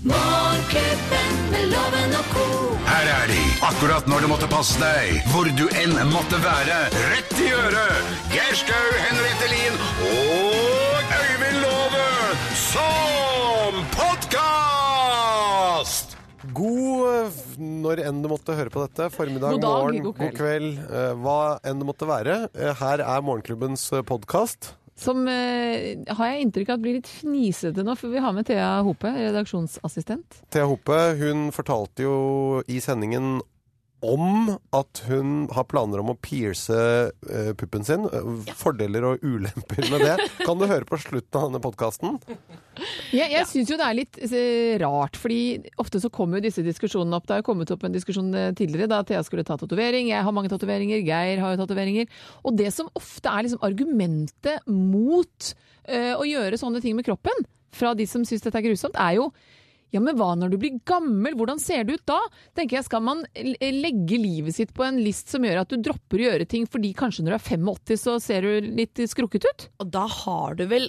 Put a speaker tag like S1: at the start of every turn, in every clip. S1: Morgenklubben med loven og ko.
S2: Her er de, akkurat når du måtte passe deg, hvor du enn måtte være. Rett i øret! Geir Skau, Henriette Lien og Øyvind Låve som podkast!
S3: God eh, f- når enn du måtte høre på dette. Formiddag,
S4: God dag,
S3: morgen,
S4: god kveld.
S3: eh, hva enn det måtte være. Eh, Her er Morgenklubbens eh, podkast.
S4: Som eh, har jeg inntrykk av at blir litt fnisete nå, for vi har med Thea Hope, redaksjonsassistent.
S3: Thea Hope hun fortalte jo i sendingen om at hun har planer om å pierce eh, puppen sin. Eh, Fordeler og ulemper med det. Kan du høre på slutten av denne podkasten?
S4: Jeg, jeg syns jo det er litt eh, rart, fordi ofte så kommer jo disse diskusjonene opp. Det har jo kommet opp en diskusjon eh, tidligere da Thea skulle ta tatovering. Jeg har mange tatoveringer, Geir har jo tatoveringer. Og det som ofte er liksom argumentet mot eh, å gjøre sånne ting med kroppen, fra de som syns dette er grusomt, er jo Ja, men hva når du blir gammel? Hvordan ser det ut da? Tenker jeg, Skal man l- eh, legge livet sitt på en list som gjør at du dropper å gjøre ting fordi kanskje når du er 85 så ser du litt skrukket ut?
S5: Og da har du vel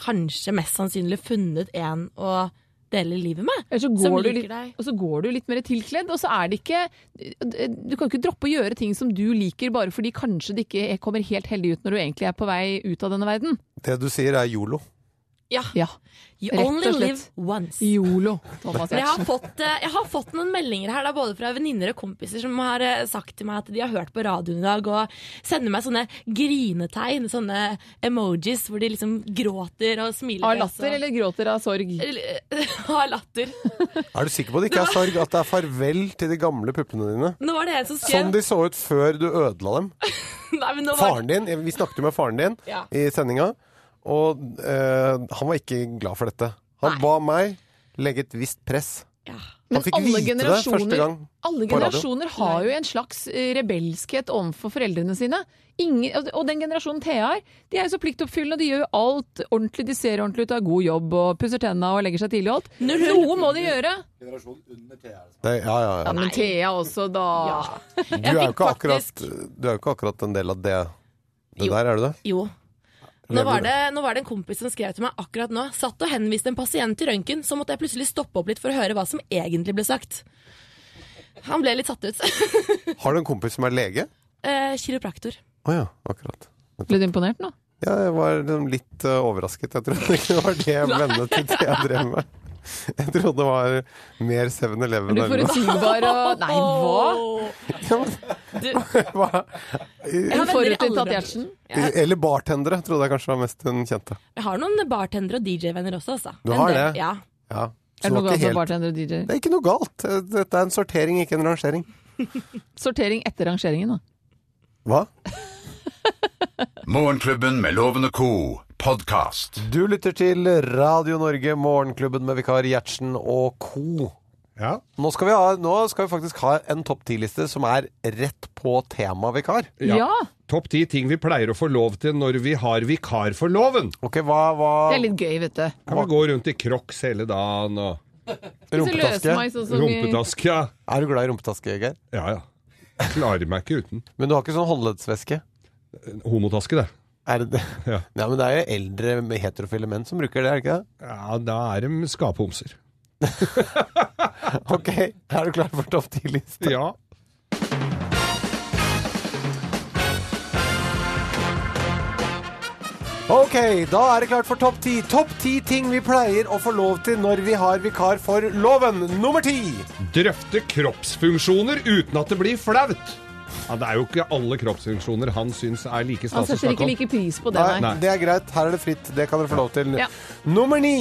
S5: kanskje mest sannsynlig funnet en å dele livet med.
S4: Eller Eh, så
S5: Som
S4: går, du
S5: liker
S4: litt,
S5: deg.
S4: og så går du litt mer tilkledd, og så er det ikke eh, Du kan ikke droppe å gjøre ting som du liker bare fordi kanskje det ikke kommer helt heldig ut når du egentlig er på vei ut av denne verden.
S3: Det du sier, er yolo.
S5: Ja,
S4: Ja.
S5: You
S4: rett og
S5: only
S4: slett.
S5: live once.
S4: Yolo, Thomas
S5: Men jeg har,
S4: Giertsen.
S5: fått, eh, jeg har fått noen meldinger her, da, både fra venninner og kompiser, som har eh, sagt til meg at de har hørt på radioen i dag, og sender meg sånne grinetegn, sånne emojis hvor de liksom gråter og smiler.
S4: Av
S5: til oss, og-
S4: latter eller gråter av sorg?
S5: Eller, Av latter.
S3: Er du sikker på at det ikke er sorg? At det er farvel til de gamle puppene dine?
S5: Nå var det en som skrev
S3: Sånn de så ut før du ødela dem.
S5: Nei, men nå var
S3: Faren din, Vi snakket jo med faren din
S5: Ja.
S3: i sendinga, og eh, han var ikke glad for dette. Han
S5: Nei.
S3: ba meg legge et visst press.
S5: Ja.
S3: Han fikk vite det første gang
S4: alle
S3: på radio.
S4: generasjoner har jo en slags eh, rebelskhet overfor foreldrene sine. Ingen, og- og den generasjonen Thea er, de er jo så pliktoppfyllende, og de gjør jo alt ordentlig. De ser ordentlig ut, har god jobb og pusser tenna og legger seg tidlig og alt. Noe må de gjøre!
S3: Det, ja, ja, ja.
S4: Ja, men Thea også, da.
S3: Du, er jo
S5: fikk
S3: ikke akkurat,
S5: faktisk-
S3: du er jo ikke akkurat en del av det. Det
S5: Jo.
S3: der er du det?
S5: Jo. Nå
S3: Lever
S5: var,
S3: du?
S5: det, nå var det en kompis som skrev til meg akkurat nå. Satt og henviste en pasient til røntgen, så måtte jeg plutselig stoppe opp litt for å høre hva som egentlig ble sagt. Han ble litt satt ut.
S3: Har du en kompis som er lege?
S5: eh, kiropraktor.
S3: Å ja, akkurat.
S4: Ble du imponert nå?
S3: Ja, jeg var liksom litt eh, overrasket. Jeg trodde ikke det var det vennene til Thea drev med. Jeg trodde det var mer 7-Eleven.
S4: Er
S3: eller
S4: du
S3: noe.
S4: forutsigbar og Nei, hva?
S3: Ja, men-
S5: Du-
S3: Hva-
S5: Jeg har venner i alle
S4: Forutinntatt
S5: bransjer.
S4: Gjertsen?
S5: Ja.
S3: Eller bartendere, trodde jeg kanskje var mest hun kjente.
S5: Jeg har noen bartendere og DJ-venner også, altså.
S3: Du
S5: En
S3: har
S5: del,
S3: det?
S5: Ja.
S3: Ja. Så
S4: Er det
S3: det,
S4: noe
S3: var ikke
S4: galt med
S3: helt,
S4: bartender og DJ?
S3: det er ikke noe galt. Eh, Dette er en sortering, ikke en rangering.
S4: Sortering etter rangeringen, da.
S3: Hva?
S2: Morgenklubben med Loven og co. podkast.
S3: Du lytter til Radio Norge, Morgenklubben med vikar Gjertsen og co.
S6: Ja.
S3: Nå skal vi, ha, nå skal vi faktisk ha en topp ti-liste som er rett på tema vikar.
S6: Ja.
S4: Ja!
S6: Topp ti ting vi pleier å få lov til når vi har vikar for loven.
S3: Ok, hva, hva
S4: Det er litt gøy, vet du.
S6: Kan vi gå rundt i crocs hele dagen og
S4: Så løser man
S3: Rumpetaske.
S4: sånn som
S6: rumpetaske? Ja.
S3: Er du glad i rumpetaske, Geir?
S6: ja ja. Klarer meg ikke uten.
S3: Men du har ikke sånn håndleddsvæske?
S6: Homotaske, det.
S3: Er det det?
S6: Ja.
S3: Nei, men det er jo eldre med heterofile menn som bruker det, er det ikke det?
S6: Ja, da er de skapehomser.
S3: Ok, er du klar for topp ti-liste?
S6: Ja.
S3: Ok, da er det klart for topp ti. Topp ti ting vi pleier å få lov til når vi har vikar for loven. Nummer ti.
S6: Drøfte kroppsfunksjoner uten at det blir flaut. Ja, Det er jo ikke alle kroppsfunksjoner han syns er like
S4: Han
S6: stas å
S4: setter ikke
S6: snakke altså, om.
S4: like pris på det,
S3: Nei,
S4: nei.
S3: Det er greit. Her er det fritt. Det kan dere få lov til.
S4: Ja.
S3: Nummer ni.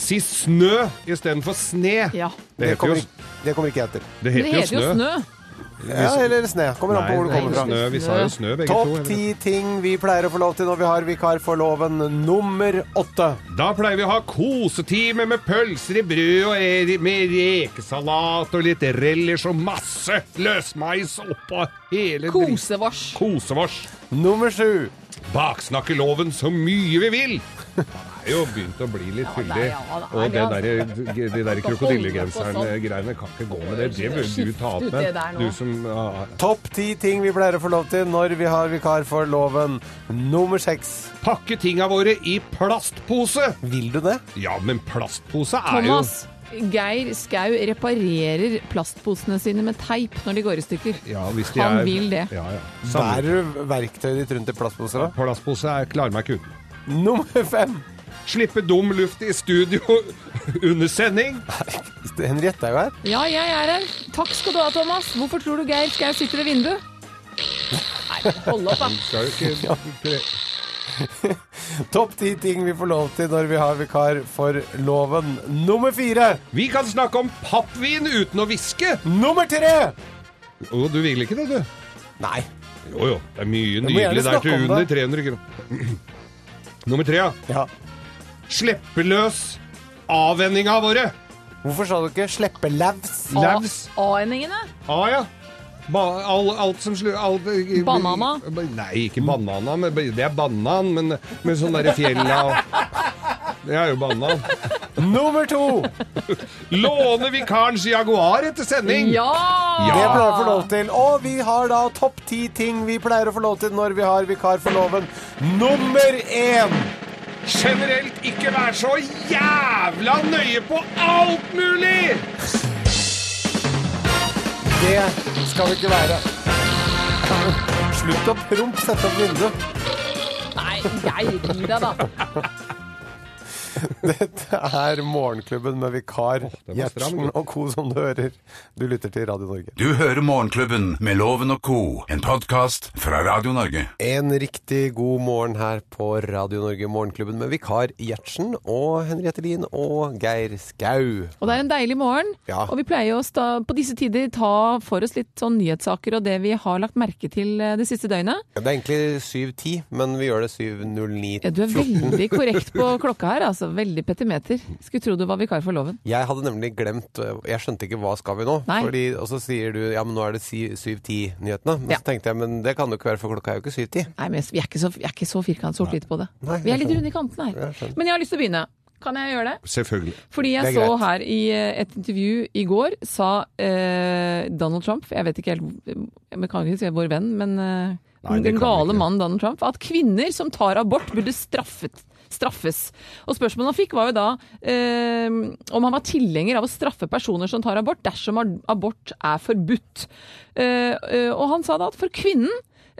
S6: Si snø istedenfor sne.
S4: Ja.
S6: Det
S3: Det
S6: heter
S3: kommer,
S6: jo,
S3: ikke, det kommer ikke jeg etter.
S6: det
S4: Men det
S6: heter jo snø.
S4: snø.
S3: Ja, eller sne. Kommer an
S6: Nei,
S3: på hvor
S6: det
S3: det
S6: er
S3: kommer
S6: jo
S3: fra.
S6: snø. Vi sa jo snø, begge to.
S3: Topp
S6: eller?
S3: ti ting vi pleier å få lov til når vi har vikar for loven. Nummer åtte.
S6: Da pleier vi å ha kosetime med pølser i brød og er- med rekesalat og litt relish og masse løsmeis oppå hele dritten.
S4: Kosevars.
S6: Kosevars.
S3: Nummer sju.
S6: Baksnakke loven så mye vi vil. Det er jo begynt å bli litt fyldig.
S4: ja, det er altså det,
S6: Og det derre- de der
S4: Skal holde på
S6: krokodillegenseren-greiene kan ikke gå med det. Det bør du ta
S4: ut
S6: opp
S4: det der
S6: med.
S4: nå.
S6: Du som ah,
S3: Topp ti ting vi pleier å få lov til når vi har vikar for loven. Nummer seks.
S6: Pakke tinga våre i plastpose.
S3: Vil du det?
S6: Ja, men plastpose er jo
S4: Thomas, Geir Skau reparerer plastposene sine med teip når de går i stykker.
S6: Ja, hvis de
S4: Han
S6: er,
S4: vil det.
S6: Ja, ja. Samme-
S3: Bærer du verktøyet ditt rundt i plastposer, da?
S6: Plastpose er klarer meg ikke uten.
S3: Nummer fem!
S6: Slippe dum luft i studio under sending.
S3: Henriette er jo her.
S4: Ja, jeg er her. Takk skal du ha, Thomas. Hvorfor tror du Geir Skau sitter ved vinduet? Nei, hold opp, da.
S6: Skal jo ikke
S3: Topp ti ting vi får lov til når vi har vikar for loven. Nummer fire!
S6: Vi kan snakke om pappvin uten å hviske!
S3: Nummer tre!
S6: Å, du vil ikke det, du?
S3: Nei.
S6: Jo jo, det er mye
S3: må gjerne
S6: nydelig der til
S3: snakke om
S6: under
S3: det.
S6: 300 kroner. Nummer tre, ja.
S3: Ja.
S6: Slippe løs avvenninga våre!
S3: Hvorfor sa du ikke 'slippe lavs'?
S6: Lavs.
S4: A-endingene?
S6: Ah, ja. Ba, all, alt som slu... Alt,
S4: Banana?
S6: Nei, ikke banana. Men, det er banan, men med sånn derre fjella og Det er jo banan.
S3: Nummer to!
S6: Låne vikarens Jaguar etter sending!
S4: Ja!
S3: Det pleier å få lov til. Og vi har da topp ti ting vi pleier å få lov til når vi har vikar for loven. Nummer én!
S6: Generelt ikke være så jævla nøye på alt mulig!
S3: Det skal vi ikke være. Slutt å promp, sette opp vinduet.
S4: Nei, Geir, gi deg, da.
S3: Dette er Morgenklubben med vikar
S6: den var stram,
S3: Gjertsen og co. som du hører. Du lytter til Radio Norge.
S2: Du hører Morgenklubben med Loven og Co., en podkast fra Radio Norge.
S3: En riktig god morgen her på Radio Norge Morgenklubben med vikar Gjertsen og Henriette Lien og Geir Skau.
S4: Og det er en deilig morgen.
S3: Ja.
S4: Og vi pleier å sta, på disse tider ta for oss litt sånn nyhetssaker og det vi har lagt merke til eh, det siste døgnet.
S3: Ja, Det er egentlig 7.10, men vi gjør det
S4: Ja,
S3: 7.09.
S4: Du er veldig korrekt på klokka her, altså. Veldig petimeter. Skulle tro du var vikar for loven.
S3: Jeg hadde nemlig glemt øh, Jeg skjønte ikke hva skal vi nå.
S4: Nei.
S3: Fordi, og så sier du ja, men nå er det 7.10-nyhetene. Men
S4: Ja.
S3: så tenkte jeg men det kan det ikke være, for klokka er jo ikke 7.10.
S4: Nei, men vi er ikke så, vi er ikke så firkantsort-hvite på det.
S3: Nei, jeg
S4: Vi er litt
S3: skjønner.
S4: runde i kantene
S3: Jeg
S4: her.
S3: skjønner.
S4: Men jeg har lyst til å begynne. Kan jeg gjøre det?
S6: Selvfølgelig.
S4: Fordi
S3: Det
S4: jeg
S3: er
S4: så
S3: greit.
S4: her i eh, et intervju i går, sa eh, Donald Trump, jeg vet ikke helt, jeg kan ikke si vår venn, men eh,
S6: Nei, det
S4: den
S6: kan vi
S4: gale
S6: ikke.
S4: mannen Donald Trump, at kvinner som tar abort burde straffet. Straffes. Og spørsmålet han fikk var jo da eh, om han var tilhenger av å straffe personer som tar abort, dersom ab- abort er forbudt. Eh, eh, og han sa da at for kvinnen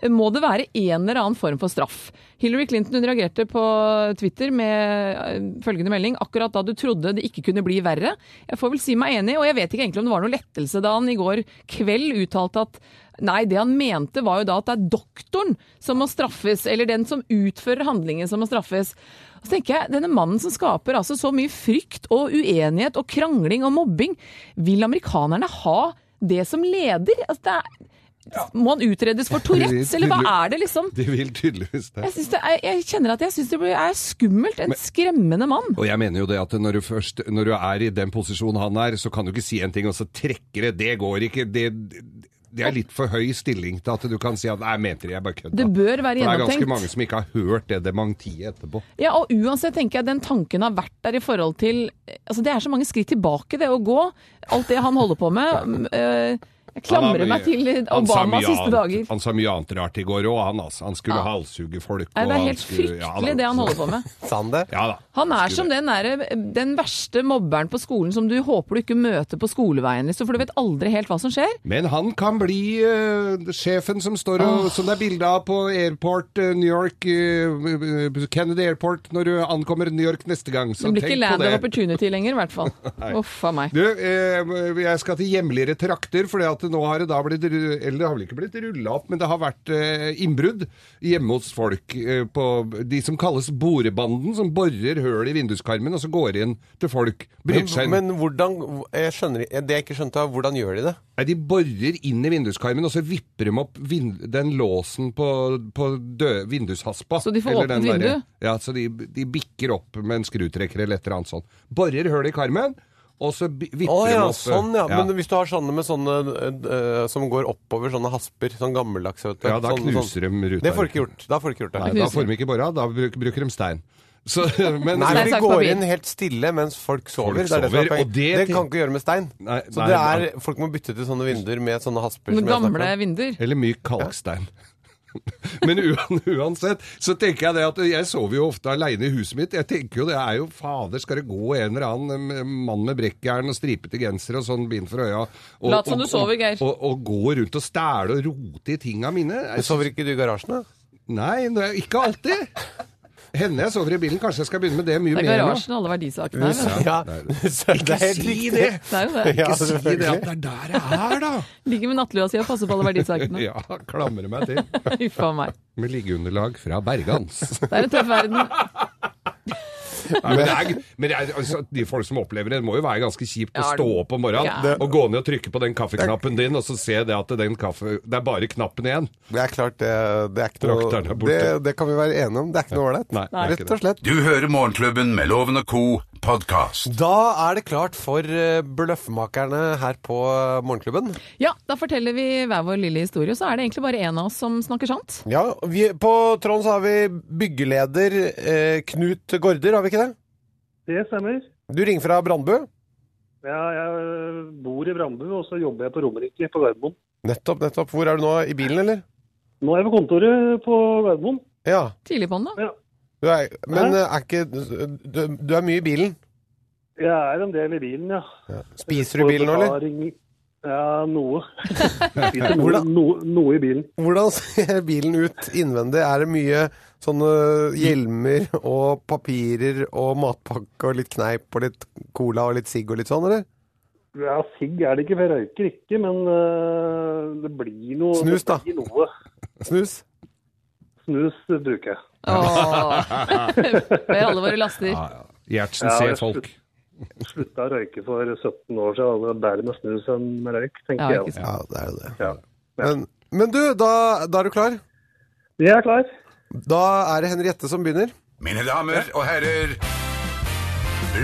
S4: må det være en eller annen form for straff. Hillary Clinton hun reagerte på Twitter med eh, følgende melding akkurat da du trodde det ikke kunne bli verre. Jeg får vel si meg enig, og jeg vet ikke egentlig om det var noe lettelse da han i går kveld uttalte at nei, det han mente var jo da at det er doktoren som må straffes, eller den som utfører handlingen som må straffes. Og så tenker jeg, Denne mannen som skaper altså så mye frykt og uenighet og krangling og mobbing, vil amerikanerne ha det som leder? Altså, det er må han utredes for Tourettes, eller hva er det liksom?
S6: De vil tydeligvis det.
S4: Jeg, synes det er, jeg kjenner at jeg syns det blir- er skummelt. En skremmende mann.
S6: Og jeg mener jo det at når du, først, når du er i den posisjonen han er, så kan du ikke si en ting, og så trekker det. Det går ikke. Det, det er litt for høy stilling til at du kan si at nei, jeg mente det, jeg bare kødda.
S4: Det bør være
S6: For det er
S4: gjennomtenkt.
S6: ganske mange som ikke har hørt det dementiet etterpå.
S4: Ja, og uansett tenker jeg den tanken har vært der i forhold til Altså, det er så mange skritt tilbake, det å gå. Alt det han holder på med. Mm, eh, Jeg
S6: Han
S4: klamrer
S6: har mye-
S4: meg til
S6: han sa
S4: Obamas
S6: mye
S4: siste
S6: annet-
S4: dager.
S6: Han sa mye annet rart i går òg, han altså. Han skulle
S4: Ja.
S6: halshugge folk.
S4: Nei,
S6: og
S4: det er
S6: han
S4: helt
S6: skulle- ja,
S4: fryktelig det han holder på med.
S3: Sander?
S6: Ja da.
S4: Han er
S6: Skulle
S4: som
S6: det.
S4: den, derre- den verste mobberen på skolen som du håper du ikke møter på skoleveien, liksom, for du vet aldri helt hva som skjer.
S6: Men han kan bli eh, sjefen som står og Som det er bilde av på airport, eh, New York eh, Kennedy Airport, når du ankommer New York neste gang. Så
S4: Det blir ikke
S6: tenk
S4: land of
S6: på det.
S4: opportunity lenger, i hvert fall. Uff a meg.
S6: Du, eh, jeg skal til hjemligere trakter, for nå har det da blitt ru- Eller det har vel ikke blitt rulla opp, men det har vært eh, innbrudd hjemme hos folk. eh, På de som kalles borebanden, som borer høl i vinduskarmen og så går inn til folk.
S3: Men,
S6: Bryter seg inn.
S3: men hvordan jeg skjønner, Det jeg ikke skjønte, er hvordan gjør de det?
S6: Nei, de borer inn i vinduskarmen, og så vipper de opp vin den låsen på, på dø vindushaspa.
S4: Så de får
S6: Eller den
S4: åpent
S6: derre-
S4: vindu?
S6: Ja, så de, de bikker opp med en skrutrekker eller et eller annet sånt. Borer høl i karmen, og så bi- vipper
S3: Å ja,
S6: de opp. eh,
S3: sånn ja. Men hvis du har sånne med sånne øh, øh, som går oppover, sånne hasper, sånn gammeldags vet du.
S6: Ja, da
S3: sånn,
S6: knuser
S3: sånn.
S6: de ruta.
S3: Det får du ikke gjort. Da får du ikke gjort det.
S6: Nei, da får de ikke bora, da bruk, bruker de stein. Så, men,
S3: Nei,
S4: Stein,
S3: men vi
S4: saks,
S3: går
S4: papir.
S3: inn helt stille mens folk sover.
S6: Folk
S3: det, er det, som er
S6: sover,
S3: poenget.
S6: og det-
S3: det kan ikke gjøre med stein.
S6: Nei,
S3: så
S6: nei,
S3: det er, folk må bytte til sånne vinduer med sånne hasper. som jeg
S4: Gamle
S3: snakker om.
S4: vinduer.
S6: Eller myk kalkstein. Men uan- uansett så tenker jeg det at jeg sover jo ofte aleine i huset mitt. Jeg tenker jo det er jo fader, skal det gå en eller annen eh, mann med brekkjern og stripete genser og sånn bind for øya og,
S4: Lat som
S6: og-
S4: du sover, Geir.
S6: Og, og, og gå rundt og stæle og rote i tinga mine? Jeg
S3: Men sover ikke du i garasjen, da?
S6: Nei, det er ikke alltid. Hender jeg sover i bilen. Kanskje jeg skal begynne med det mye
S4: Det er
S6: mer nå.
S4: garasjen og alle verdisakene her. vet du.
S3: Ja, så det er helt
S6: Si
S3: riktig.
S6: det!
S4: Det er jo det.
S3: Ja,
S6: Ikke si det
S3: selvfølgelig.
S6: at det er der jeg er, da!
S4: Ligger med nattlua si og passer på alle verdisakene.
S6: Ja, klamrer meg til.
S4: Uff a meg.
S6: Med liggeunderlag fra Bergans.
S4: Det er en tøff verden.
S6: Nei, men det er, men det er, altså, de folk som opplever det, det må jo være ganske kjipt å
S4: Ja,
S6: stå opp om morgenen
S4: det-
S6: og gå ned og trykke på den kaffeknappen din, og så se det at den kaffe, det er bare knappen igjen.
S3: Det er klart, det, det er ikke noe
S6: Drakteren er borte.
S3: det, det kan vi være enige om. Det er ikke noe
S6: Nei,
S3: ålreit.
S6: det er ikke
S3: Rett og slett.
S2: Du hører Morgenklubben med Loven og Co. podkast.
S3: Da er det klart for eh, bløffmakerne her på eh, Morgenklubben.
S4: Ja, da forteller vi hver vår lille historie, og så er det egentlig bare én av oss som snakker sant.
S3: Ja, vi, På Trond så har vi byggeleder eh, Knut Gaarder, har vi ikke det?
S7: Det stemmer.
S3: Du ringer fra Brandbu.
S7: Ja, jeg bor i Brandbu, og så jobber jeg på Romerike på Gardermoen.
S3: Nettopp, nettopp. Hvor er du nå? I bilen, eller?
S7: Nå er jeg ved kontoret på Gardermoen.
S3: Ja.
S4: Tidlig på den, da.
S3: Du er, men eh, er ikke du, du er mye i bilen.
S7: Jeg er en del i bilen, ja.
S3: Spiser du i bilen nå, eller?
S7: Forklaring- Ja, noe. Spiser noe,
S3: Hvordan?
S7: noe, noe i bilen.
S3: Hvordan ser bilen ut innvendig? Er det mye sånne hjelmer og papirer og matpakke og litt kneip og litt cola og litt sigg og litt sånn, eller?
S7: Ja, sigg er det ikke, for jeg røyker ikke, men øh, det blir noe.
S3: Snus, da.
S7: Det blir noe.
S3: Snus?
S7: Snus øh, bruker jeg.
S4: Åh. Med alle våre laster.
S6: Ja, ja. Gjertsen
S7: Ja,
S6: ser
S7: jeg
S6: folk.
S7: Slutta å røyke for 17 år siden, og det er bedre med snus enn med røyk,
S4: Ja,
S7: tenker
S4: ikke
S7: jeg.
S4: sant.
S3: Ja, det er jo det.
S7: Ja.
S3: Men, men du, da, da er du klar.
S7: Jeg er klar.
S3: Da er det Henriette som begynner.
S2: Mine damer og herrer,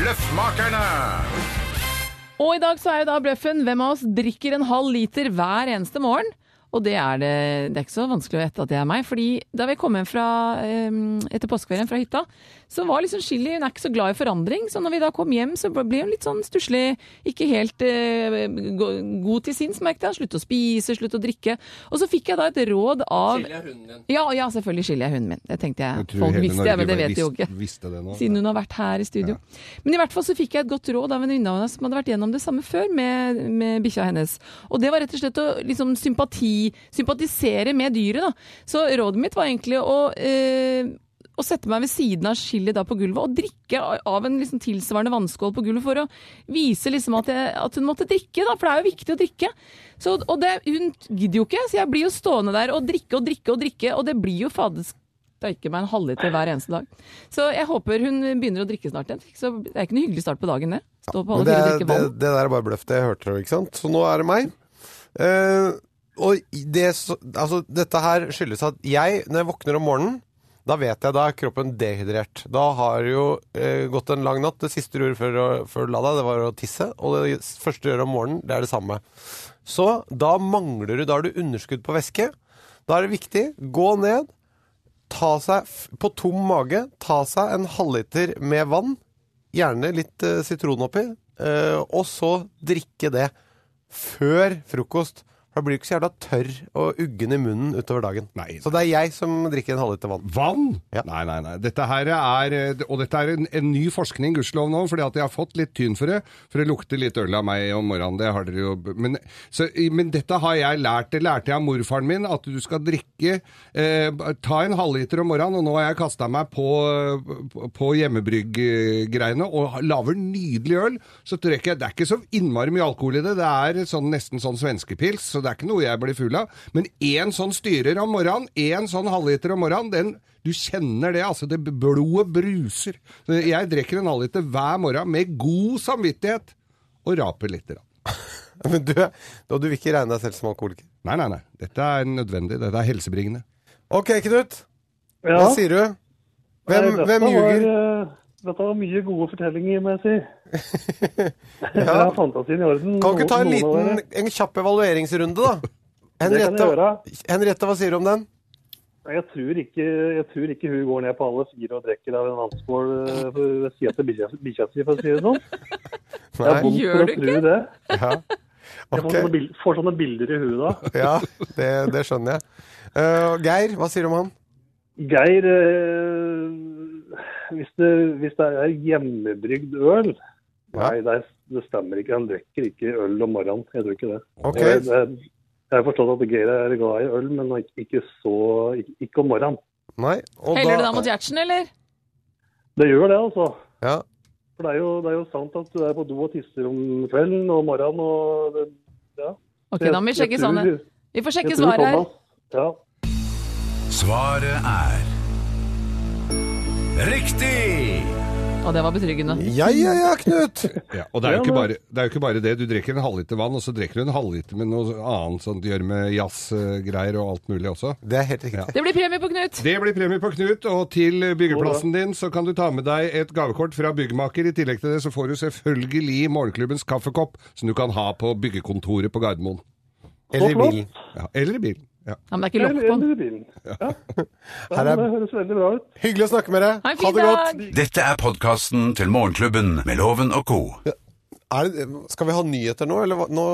S2: Løffmakerne!
S4: Og i dag så er jo da bløffen hvem av oss drikker en halv liter hver eneste morgen. Og det er det, det er ikke så vanskelig å gjette at det er meg. fordi da vi kom hjem fra, eh, etter påskeferien fra hytta, så var liksom chili Hun er ikke så glad i forandring. Så når vi da kom hjem, så ble hun litt sånn stusslig. Ikke helt eh, go- god til sinns, merket jeg. Slutt å spise, slutt å drikke. Og så fikk jeg da et råd av Chili er hunden din. Ja, ja selvfølgelig chili er hunden min. Det tenkte jeg. Folk visste det, men det vet jo ikke.
S6: Visste det nå.
S4: Siden hun har vært her i studio. Men i hvert fall så fikk jeg et godt råd av en venninne av henne som hadde vært gjennom det samme før med, med bikkja hennes. Og det var rett og slett å liksom sympati, sympatisere med dyret, da. Så rådet mitt var egentlig å eh, å sette meg ved siden av chili da på gulvet og drikke av en liksom tilsvarende vannskål på gulvet for å vise liksom at, jeg, at hun måtte drikke, da, for det er jo viktig å drikke. Så, og det, hun gidder jo ikke, så jeg blir jo stående der og drikke og drikke og drikke, og det blir jo fadesk Døyker meg en halvliter hver eneste dag. Så jeg håper hun begynner å drikke snart igjen. Så det er ikke noe hyggelig start på dagen, det. Stå på
S3: Men
S4: alle
S3: det,
S4: fire og
S3: er-
S4: drikke
S3: det,
S4: vann.
S3: det der er bare bløff, det hørte dere, ikke sant? Så nå er det meg. Eh, og det, så- altså, dette her skyldes at jeg, når jeg våkner om morgenen, da vet jeg da er kroppen dehydrert. Da har det jo eh, gått en lang natt. Det siste du gjorde før, å- før du la deg, det var å tisse. Og det første du gjør om morgenen, det er det samme. Så da mangler du, da har du underskudd på væske. Da er det viktig, gå ned, ta seg, f- på tom mage, ta seg en halvliter med vann, gjerne litt eh, sitron oppi, eh, og så drikke det før frokost. Da blir du ikke så jævla tørr og uggen i munnen utover dagen.
S6: Nei.
S3: Så det er jeg som drikker en halvliter vann.
S6: Vann?
S3: Ja.
S6: Nei, nei, nei. Dette her er, eh, og dette er en, en ny forskning, gudskjelov nå, fordi at jeg har fått litt tyn for det. For det lukter litt øl av meg om morgenen. Det har dere jo Men, så, men dette har jeg lært. Det lærte jeg av morfaren min, at du skal drikke eh, Ta en halvliter om morgenen, og nå har jeg kasta meg på, på hjemmebrygg-greiene og lager nydelig øl. Så drikker jeg Det er ikke så innmari mye alkohol i det. Det er sånn, nesten sånn svenskepils, så det er ikke noe jeg blir full av. Men én sånn styrer om morgenen, én sånn halvliter om morgenen, den du kjenner det, altså. Det blodet bruser. Så Jeg drikker en halvliter hver morgen med god samvittighet og raper litt. grann.
S3: Men du, da du vil ikke regne deg selv som alkoholiker.
S6: Nei, nei, nei. Dette er nødvendig. Dette er helsebringende.
S3: Ok, Knut.
S7: Ja.
S3: Hva sier du? Hvem,
S7: Nei, dette
S3: hvem
S7: var,
S3: ljuger?
S7: eh, Dette var mye gode fortellinger, må jeg si. Jeg har fantasien i orden.
S3: Kan ikke ta en
S7: noen av
S3: liten,
S7: dere.
S3: en kjapp evalueringsrunde, da?
S7: jeg gjøre.
S3: Henriette, hva sier du om den?
S7: Nei, Jeg tror, ikke, jeg tror ikke hun går ned på alle fire og drikker av en vannskål eh, ved sida til bikkja bikkja si, for å si det sånn. Jeg
S3: Nei.
S7: er vond
S4: Gjør
S7: for å
S4: du
S7: tro det.
S3: Ja.
S7: Jeg får,
S3: Ok.
S7: sånne bil- får sånne bilder i huet da.
S3: Ja, det, det skjønner jeg. Eh, Geir, hva sier du om han?
S7: Geir, eh, hvis, det, hvis det er hjemmebrygd øl
S3: Ja.
S7: Nei, det, er, det stemmer ikke. Han drikker ikke øl om morgenen. Jeg tror ikke det.
S3: Ok,
S7: Jeg, jeg, jeg har forstått at Geir er glad i øl, men ikke- ikke, så, ikke, ikke om morgenen.
S3: nei. Og
S4: Heller du da mot Gjertsen, eller?
S7: Det gjør det, altså.
S3: Ja.
S7: For det er jo, det er jo sant at du er på do og tisser om kvelden og morgenen. Og det, ja.
S4: Ok, da må vi sjekke sånn. Vi får sjekke svaret her.
S7: Thomas- Ja.
S2: Svaret er Riktig!
S4: Og det var betryggende.
S3: ja, ja, ja, Knut!
S6: Ja, og det er, jo ikke bare, det er jo ikke bare det. Du drikker en halvliter vann, og så drikker du en halvliter med noe annet sånt du gjør med jazzgreier og alt mulig også.
S3: Det er helt riktig.
S4: Det blir premie på Knut!
S6: Det blir premie på Knut, og til byggeplassen din så kan du ta med deg et gavekort fra byggmaker. I tillegg til det så får du selvfølgelig morgenklubbens kaffekopp, som du kan ha på byggekontoret på Gardermoen.
S3: Eller i bilen.
S6: Ja, eller i bilen. Ja.
S4: Ja, men det er ikke lokk
S7: Eller,
S4: på den.
S7: eller i bilen. Ja. Ja,
S3: Her er-
S7: men det høres veldig bra ut.
S3: Hyggelig å snakke med deg.
S4: Ha en
S3: Ha
S4: fin
S3: det godt.
S4: dag!
S2: Dette er podkasten til Morgenklubben med Loven og co.
S3: Er det, skal vi ha nyheter nå, eller hva? Nå,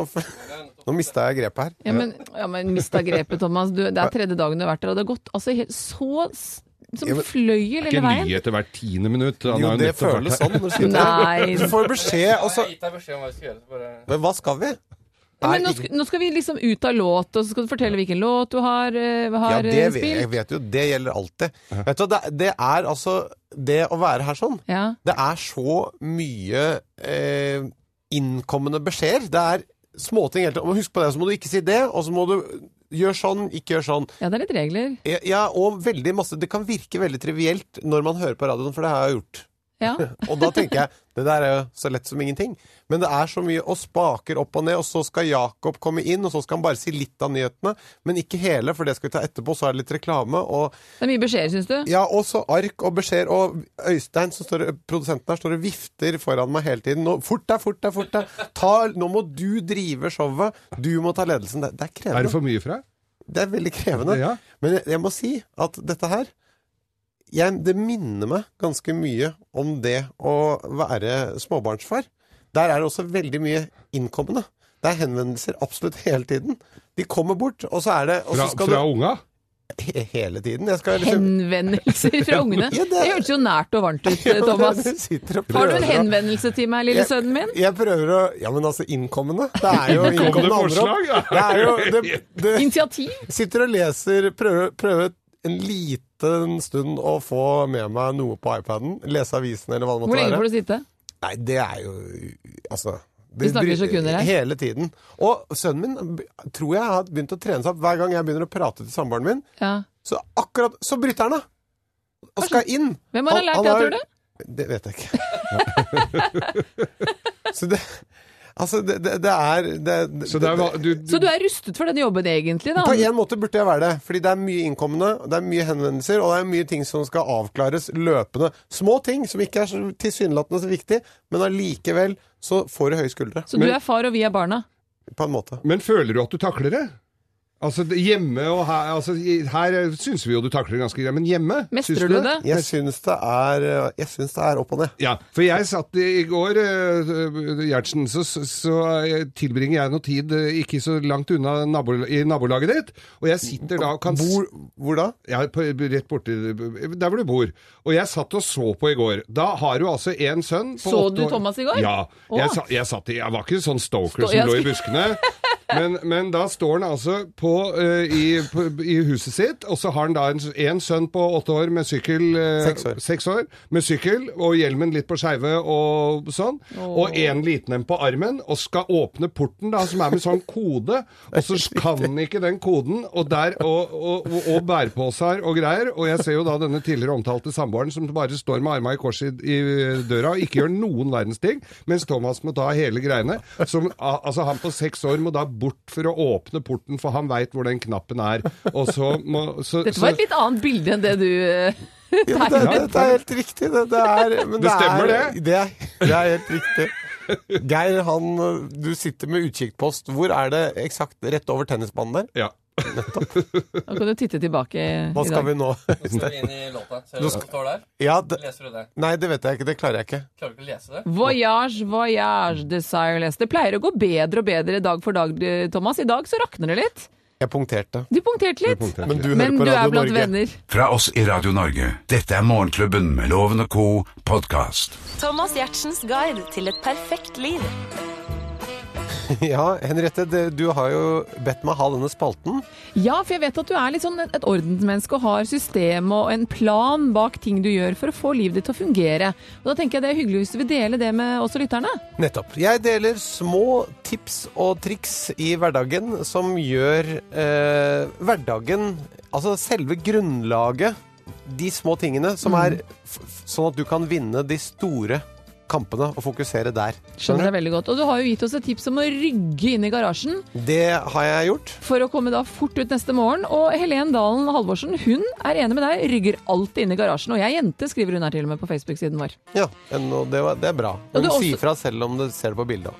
S3: nå mista jeg grepet her.
S4: Ja, men, ja, men mista grepet, Thomas. Du, det er tredje dagen du har vært der, og det har gått altså, helt så s- som
S3: Ja, men-
S4: fløyel hele
S6: Ikke
S4: veien.
S6: nyheter hvert tiende minutt. Han
S3: Jo,
S6: har
S3: det
S6: nettopp vært
S3: føles
S6: her.
S3: sånn når du sitter
S4: Nei.
S3: Du får beskjed, og
S8: Jeg har
S3: så
S8: gitt deg beskjed om hva vi skal gjøre. Så bare...
S3: Men Hva skal vi?
S4: Ja, Men
S3: Nei,
S4: nå, skal, nå skal vi liksom ut av låt, og så skal du fortelle hvilken låt du har, eh,
S3: Ja,
S4: har
S3: det
S4: eh,
S3: vet, jeg
S4: spilt.
S3: vet jo. Det gjelder alltid. Vet du, hva, det, det er altså Det å være her sånn
S4: Ja.
S3: Det er så mye eh, innkommende beskjeder. Det er småting hele tiden. Og Husk på det, så må du ikke si det, og så må du gjøre sånn, ikke gjøre sånn.
S4: ja, det er litt regler.
S3: Ja, Ja, og veldig masse Det kan virke veldig trivielt når man hører på radioen, for det har jeg gjort.
S4: Ja.
S3: Og da tenker jeg det der er jo så lett som ingenting. Men det er så mye og spaker opp og ned, og så skal Jakob komme inn, og så skal han bare si litt av nyhetene, men ikke hele, for det skal vi ta etterpå. Så er det litt reklame, og
S4: Det er mye beskjeder, syns du?
S3: ja, og så ark og beskjeder, og Øystein, som står, produsenten her, står og vifter foran meg hele tiden. Nå, fort deg, fort deg, fort deg! Ta, nå må du drive showet! Du må ta ledelsen. Det, det er
S6: Er
S3: krevende.
S6: det for mye for deg?
S3: Det er veldig krevende.
S6: Ja.
S3: Men jeg, jeg må si at dette her jeg, Det minner meg ganske mye om det å være småbarnsfar. Der er det også veldig mye innkommende. Det er henvendelser absolutt hele tiden. De kommer bort, og så er det og
S6: Fra,
S3: så skal
S6: fra unga?
S3: du, he, Hele tiden. Jeg skal liksom
S4: Henvendelser fra ungene.
S3: Ja, det-
S4: Det hørtes jo nært og varmt ut, eh, Thomas.
S3: Du sitter og
S4: Har du en
S3: prøver å-
S4: henvendelse til meg, lille
S3: Jeg-
S4: sønnen min?
S3: Jeg prøver å Ja, men altså, innkommende. Det er jo innkommende
S6: forslag, ja.
S3: andre. Det er jo det, det,
S4: Initiativ?
S3: Sitter og leser, prøver, prøver en liten stund å få med meg noe på iPaden. Lese avisen eller hva det
S4: Hvor
S3: måtte
S4: lenge får
S3: være.
S4: du sitte?
S3: Nei, det er jo Altså
S4: Vi
S3: det
S4: snakker
S3: bry-
S4: sekunder her.
S3: Hele tiden. Og sønnen min b- tror jeg har begynt å trene seg opp. Hver gang jeg begynner å prate til samboeren min,
S4: Ja.
S3: så akkurat Så bryter han av! Og skal inn.
S4: Hvem har
S3: Han-
S4: lært
S3: han
S4: det,
S3: har-
S4: tror du?
S3: Det vet jeg ikke. så det Altså, det, det, det er det, det,
S6: Så det er, hva- du,
S4: Så du er rustet for denne jobben, egentlig? da?
S3: På en måte burde jeg være det, fordi det er mye innkommende, det er mye henvendelser, og det er mye ting som skal avklares løpende. Små ting som ikke er så tilsynelatende så viktig, men allikevel så får du høye skuldre.
S4: Så du er far, og vi er barna?
S3: På en måte.
S6: Men føler du at du takler det? Altså det- hjemme og her altså, i- Her syns vi jo du takler det ganske greit, men hjemme syns
S4: Mestrer du det?
S3: Jeg syns det er, jeg syns det er opp og ned.
S6: Ja, for jeg satt i i går, eh, Gjertsen, så, så eh, tilbringer jeg noe tid eh, ikke så langt unna nabo, i nabolaget ditt, og jeg sitter da og kan s-
S3: Hvor, hvor da?
S6: ja, på, rett borti der hvor du bor. Og jeg satt og så på i går. Da har du altså en sønn på
S4: Så
S6: åtte
S4: du
S6: år-
S4: Thomas i går?
S6: Ja. Jeg,
S4: Å.
S6: sa, jeg, satt i, jeg var ikke sånn stalker
S4: Stå- jeg
S6: som lå i
S4: skulle-
S6: buskene. Men, men da står han altså på, eh, i, på, i huset sitt, og så har han da en, en sønn på åtte år med sykkel eh,
S3: Seks år.
S6: år, Med sykkel og hjelmen litt på skeive og sånn. Og en liten en på armen, og skal åpne porten, da, som er med sånn kode. Og så kan ikke den koden, og der og, og, og, og bæreposer og greier. Og jeg ser jo da denne tidligere omtalte samboeren som bare står med arma i kors i, i døra og ikke gjør noen verdens ting, mens Thomas må ta hele greiene. Som, al- altså Han på seks år må da bort for å åpne porten, for han veit hvor den knappen er. Og så må så,
S4: Dette var
S6: så-
S4: et litt annet bilde enn det du eh,
S3: Ja, men det, det, det er helt riktig. Det, det, er, men
S6: Det stemmer,
S3: er,
S6: det.
S3: det. er- Det er helt riktig. Geir, han, du sitter med utkikkpost. Hvor er det eksakt? Rett over tennisbanen der?
S6: ja.
S4: Da kan du titte tilbake
S3: Hva
S4: i
S3: skal
S4: dag.
S3: vi nå?
S8: Nå skal vi inn i låta. Ser du hva som står der?
S3: Ja, d
S8: Leser du det?
S3: nei, det vet jeg ikke. Det klarer jeg ikke.
S8: Klarer du ikke å lese det?
S4: Voyage, voyage, desireless. Det pleier å gå bedre og bedre dag for dag, eh, Thomas. I dag så rakner det litt.
S3: Jeg punkterte.
S4: Du punkterte litt.
S3: Men du hører
S4: Men
S3: på
S4: du er
S3: Radio
S4: blant
S3: Norge.
S4: venner.
S2: Fra oss i Radio Norge. Dette er Morgenklubben med Loven og co. podkast.
S9: Thomas Gjertsens guide til et perfekt liv.
S3: Ja, Henriette, det, du har jo bedt meg ha denne spalten.
S4: Ja, for jeg vet at du er litt sånn et ordensmenneske og har system og en plan bak ting du gjør for å få livet ditt til å fungere. Og da tenker jeg det er hyggelig hvis du vil dele det med også lytterne.
S3: Nettopp. Jeg deler små tips og triks i hverdagen som gjør eh, hverdagen Altså selve grunnlaget, de små tingene, som
S4: Mm.
S3: er f f- sånn at du kan vinne de store kampene og fokusere der.
S4: Skjønner deg veldig godt. Og du har jo gitt oss et tips om å rygge inn i garasjen
S3: Det har jeg gjort.
S4: for å komme da fort ut neste morgen. Og Helen Dalen Halvorsen, hun er enig med deg, rygger alltid inn i garasjen. Og jeg er jente, skriver hun her til og med på Facebook-siden vår.
S3: Ja, en- og det, var, det er bra.
S4: Og
S3: Men
S4: det er
S3: si
S4: også-
S3: fra selv om du ser det på bildet.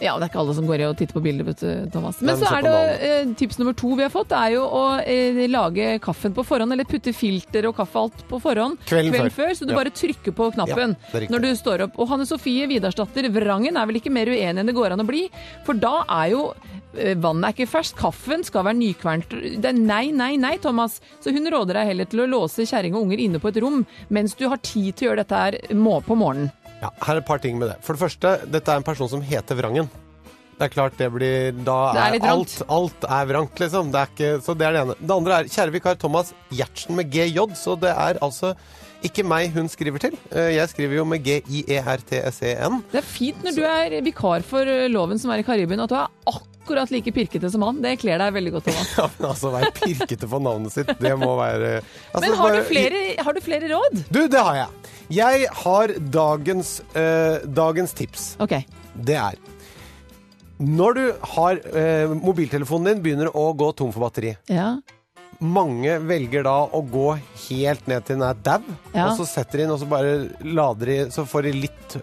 S4: Ja, det er ikke alle som går i og titter på bilder, vet du, Thomas.
S3: Nei,
S4: Men
S3: men
S4: så
S3: se
S4: er
S3: på
S4: det eh, tips nummer to vi har fått, det er jo å eh, lage kaffen på forhånd, eller putte filter og kaffe og alt på forhånd
S3: Kvelden før.
S4: så du
S3: Ja.
S4: bare trykker på knappen
S3: Ja, det er riktig.
S4: når du står opp. Og Hanne Sofie Vidarsdatter Vrangen er vel ikke mer uenig enn det går an å bli, for da er jo eh, Vannet er ikke ferskt, kaffen skal være nykvernt. Det er nei, nei, nei, Thomas. Så hun råder deg heller til å låse kjerring og unger inne på et rom mens du har tid til å gjøre dette her må- på morgenen.
S3: Ja, her er et par ting med det. For det første, dette er en person som heter Vrangen. Det er klart det blir Da
S4: Det er
S3: er,
S4: litt
S3: alt,
S4: vrangt.
S3: alt er vrangt, liksom. Det er ikke, så det er det ene. Det andre er kjære vikar Thomas Gjertsen med GJ, så det er altså ikke meg hun skriver til. Eh, Jeg skriver jo med E G-I-E-R-T-S-E-N.
S4: Det er fint når du er vikar for eh, loven som er i Karibien, at du er akkurat like pirkete som han. Det kler deg veldig godt. Thomas.
S3: Ja, men altså, være pirkete for navnet sitt, det må være altså,
S4: Men har du,
S3: bare-
S4: flere, har du flere råd?
S3: Du, det har jeg. Jeg har dagens, eh, dagens tips.
S4: Ok.
S3: det er Når du har eh, mobiltelefonen din begynner å gå tom for batteri
S4: Ja.
S3: Mange velger da å gå helt ned til den er dau,
S4: Ja.
S3: og så setter de inn, og så bare lader de, så får de litt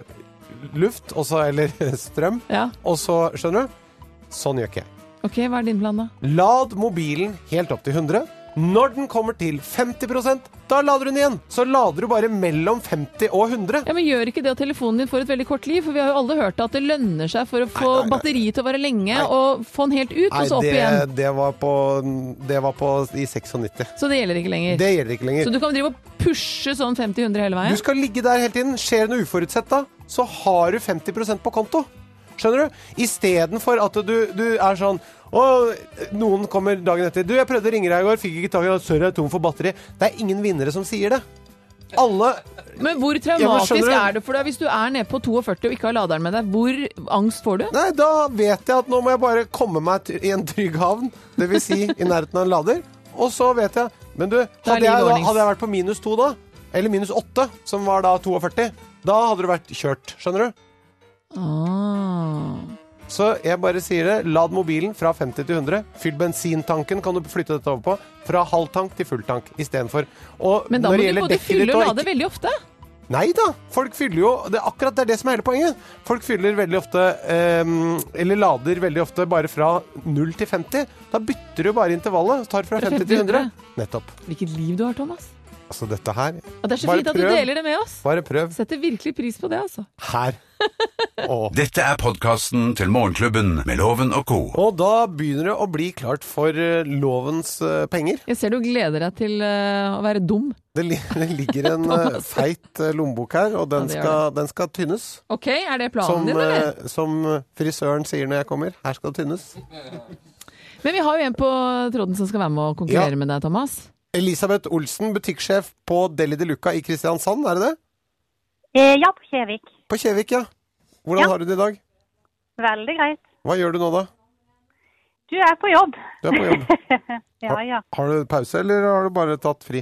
S3: luft, og så, eller strøm,
S4: ja.
S3: og så, skjønner du? Sånn gjør ikke jeg.
S4: Ok, hva er din plan, da?
S3: Lad mobilen helt opp til 100. Når den kommer til 50 da lader du den igjen. Så lader du bare mellom 50 og 100.
S4: Ja, men Gjør ikke det at telefonen din får et veldig kort liv? For vi har jo alle hørt at det lønner seg for å få
S3: Nei, nei, nei.
S4: batteriet til å vare lenge, og få den helt ut, og så opp
S3: det,
S4: igjen.
S3: det var på, det var på i 96.
S4: Så det gjelder ikke lenger.
S3: Det gjelder ikke lenger.
S4: Så du kan drive og pushe sånn 50-100 hele
S3: Du
S4: veien?
S3: skal ligge der hele tiden. Skjer det noe uforutsett da, så har du 50 på konto. Skjønner du? Istedenfor at du, du er sånn og noen kommer dagen etter. 'Du, jeg prøvde å ringe deg i går, fikk ikke tak i deg. Sorry, jeg er tom for batteri.' Det er ingen vinnere som sier det. Alle
S4: Men hvor
S3: skjønner
S4: traumatisk
S3: du-
S4: er det for deg hvis du er nede på 42 og ikke har laderen med deg? Hvor angst får du?
S3: Nei, da vet jeg at nå må jeg bare komme meg til- i en trygg havn, dvs. Si, i nærheten av en lader. Og så vet jeg Men du, hadde jeg,
S4: livet
S3: da,
S4: ordnings.
S3: hadde jeg vært på minus to da, eller minus åtte, som var da 42, da hadde du vært kjørt. Skjønner du?
S4: Ah.
S3: Så jeg bare sier det. Lad mobilen fra 50 til 100. Fyll bensintanken, kan du flytte dette over på. Fra halv tank til full tank istedenfor. Og
S4: Men da
S3: når
S4: må
S3: det
S4: du
S3: gjelder
S4: både
S3: dekket
S4: fylle
S3: ditt
S4: og
S3: og
S4: lade
S3: ikke-
S4: veldig ofte.
S3: Nei da! Folk fyller jo det, er Akkurat det er det som er hele poenget. Folk fyller veldig ofte ehm, Eller lader veldig ofte bare fra 0 til 50. Da bytter du bare intervallet. Tar fra
S4: Fra
S3: 50 til 100.
S4: 100.
S3: Nettopp.
S4: Hvilket liv du har, Thomas.
S3: Altså, dette her
S4: Og det er så
S3: Bare
S4: fint at du
S3: prøv.
S4: deler det med oss.
S3: Bare prøv
S4: Setter virkelig pris på det, altså.
S3: her. Og
S2: Dette er podkasten til Morgenklubben med Loven og co.
S3: og da begynner det å bli klart for eh, lovens eh, penger.
S4: Jeg ser du gleder deg til eh, å være dum.
S3: Det, li det ligger en eh, feit eh, lommebok her, og den,
S4: Ja, det gjør
S3: skal, den skal tynnes.
S4: Ok, er det planen
S3: Som,
S4: din, eller?
S3: eh, som frisøren sier når jeg kommer. Her skal det tynnes.
S4: Men vi har jo en på tråden som skal være med og konkurrere
S3: Ja.
S4: med deg, Thomas.
S3: Elisabeth Olsen, butikksjef på Deli de Luca i Kristiansand, er det det?
S10: Eh, ja, på Kjevik.
S3: På Kjevik, ja. Hvordan
S10: Ja.
S3: har du det i dag?
S10: Veldig greit.
S3: Hva gjør du nå, da?
S10: Du er på jobb.
S3: Du er på jobb.
S10: ja, ja.
S3: Har du pause, eller har du bare tatt fri?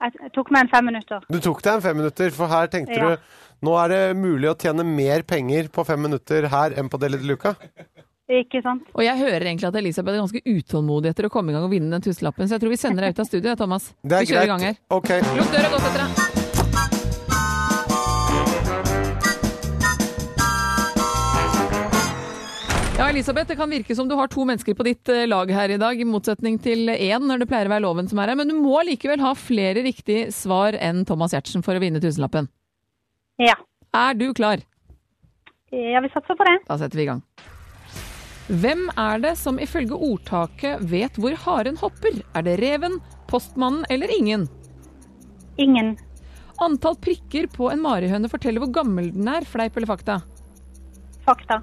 S10: Jeg tok meg en fem minutter.
S3: Du tok deg en fem minutter, for her tenkte
S10: Ja.
S3: du nå er det mulig å tjene mer penger på fem minutter her enn på Deli de Luca.
S10: Ikke sant?
S4: Og jeg hører egentlig at Elisabeth er ganske utålmodig etter å komme i gang og vinne den tusenlappen, så jeg tror vi sender deg ut av studio, Thomas.
S3: Det er
S4: vi kjører i gang her.
S3: greit. Ok.
S4: Lukk døra godt etter deg. Ja, Elisabeth, det kan virke som du har to mennesker på ditt eh, lag her i dag, i motsetning til én når det pleier å være loven som er her. Men du må likevel ha flere riktige svar enn Thomas Giertsen for å vinne tusenlappen.
S10: Ja. Eh,
S4: Er du klar?
S10: Ja, vi satser på det.
S4: Da setter vi i gang. Hvem er det som ifølge ordtaket vet hvor haren hopper? Er det reven, postmannen eller ingen?
S10: Ingen.
S4: Antall prikker på en marihøne forteller hvor gammel den er, fleip eller fakta?
S10: Fakta.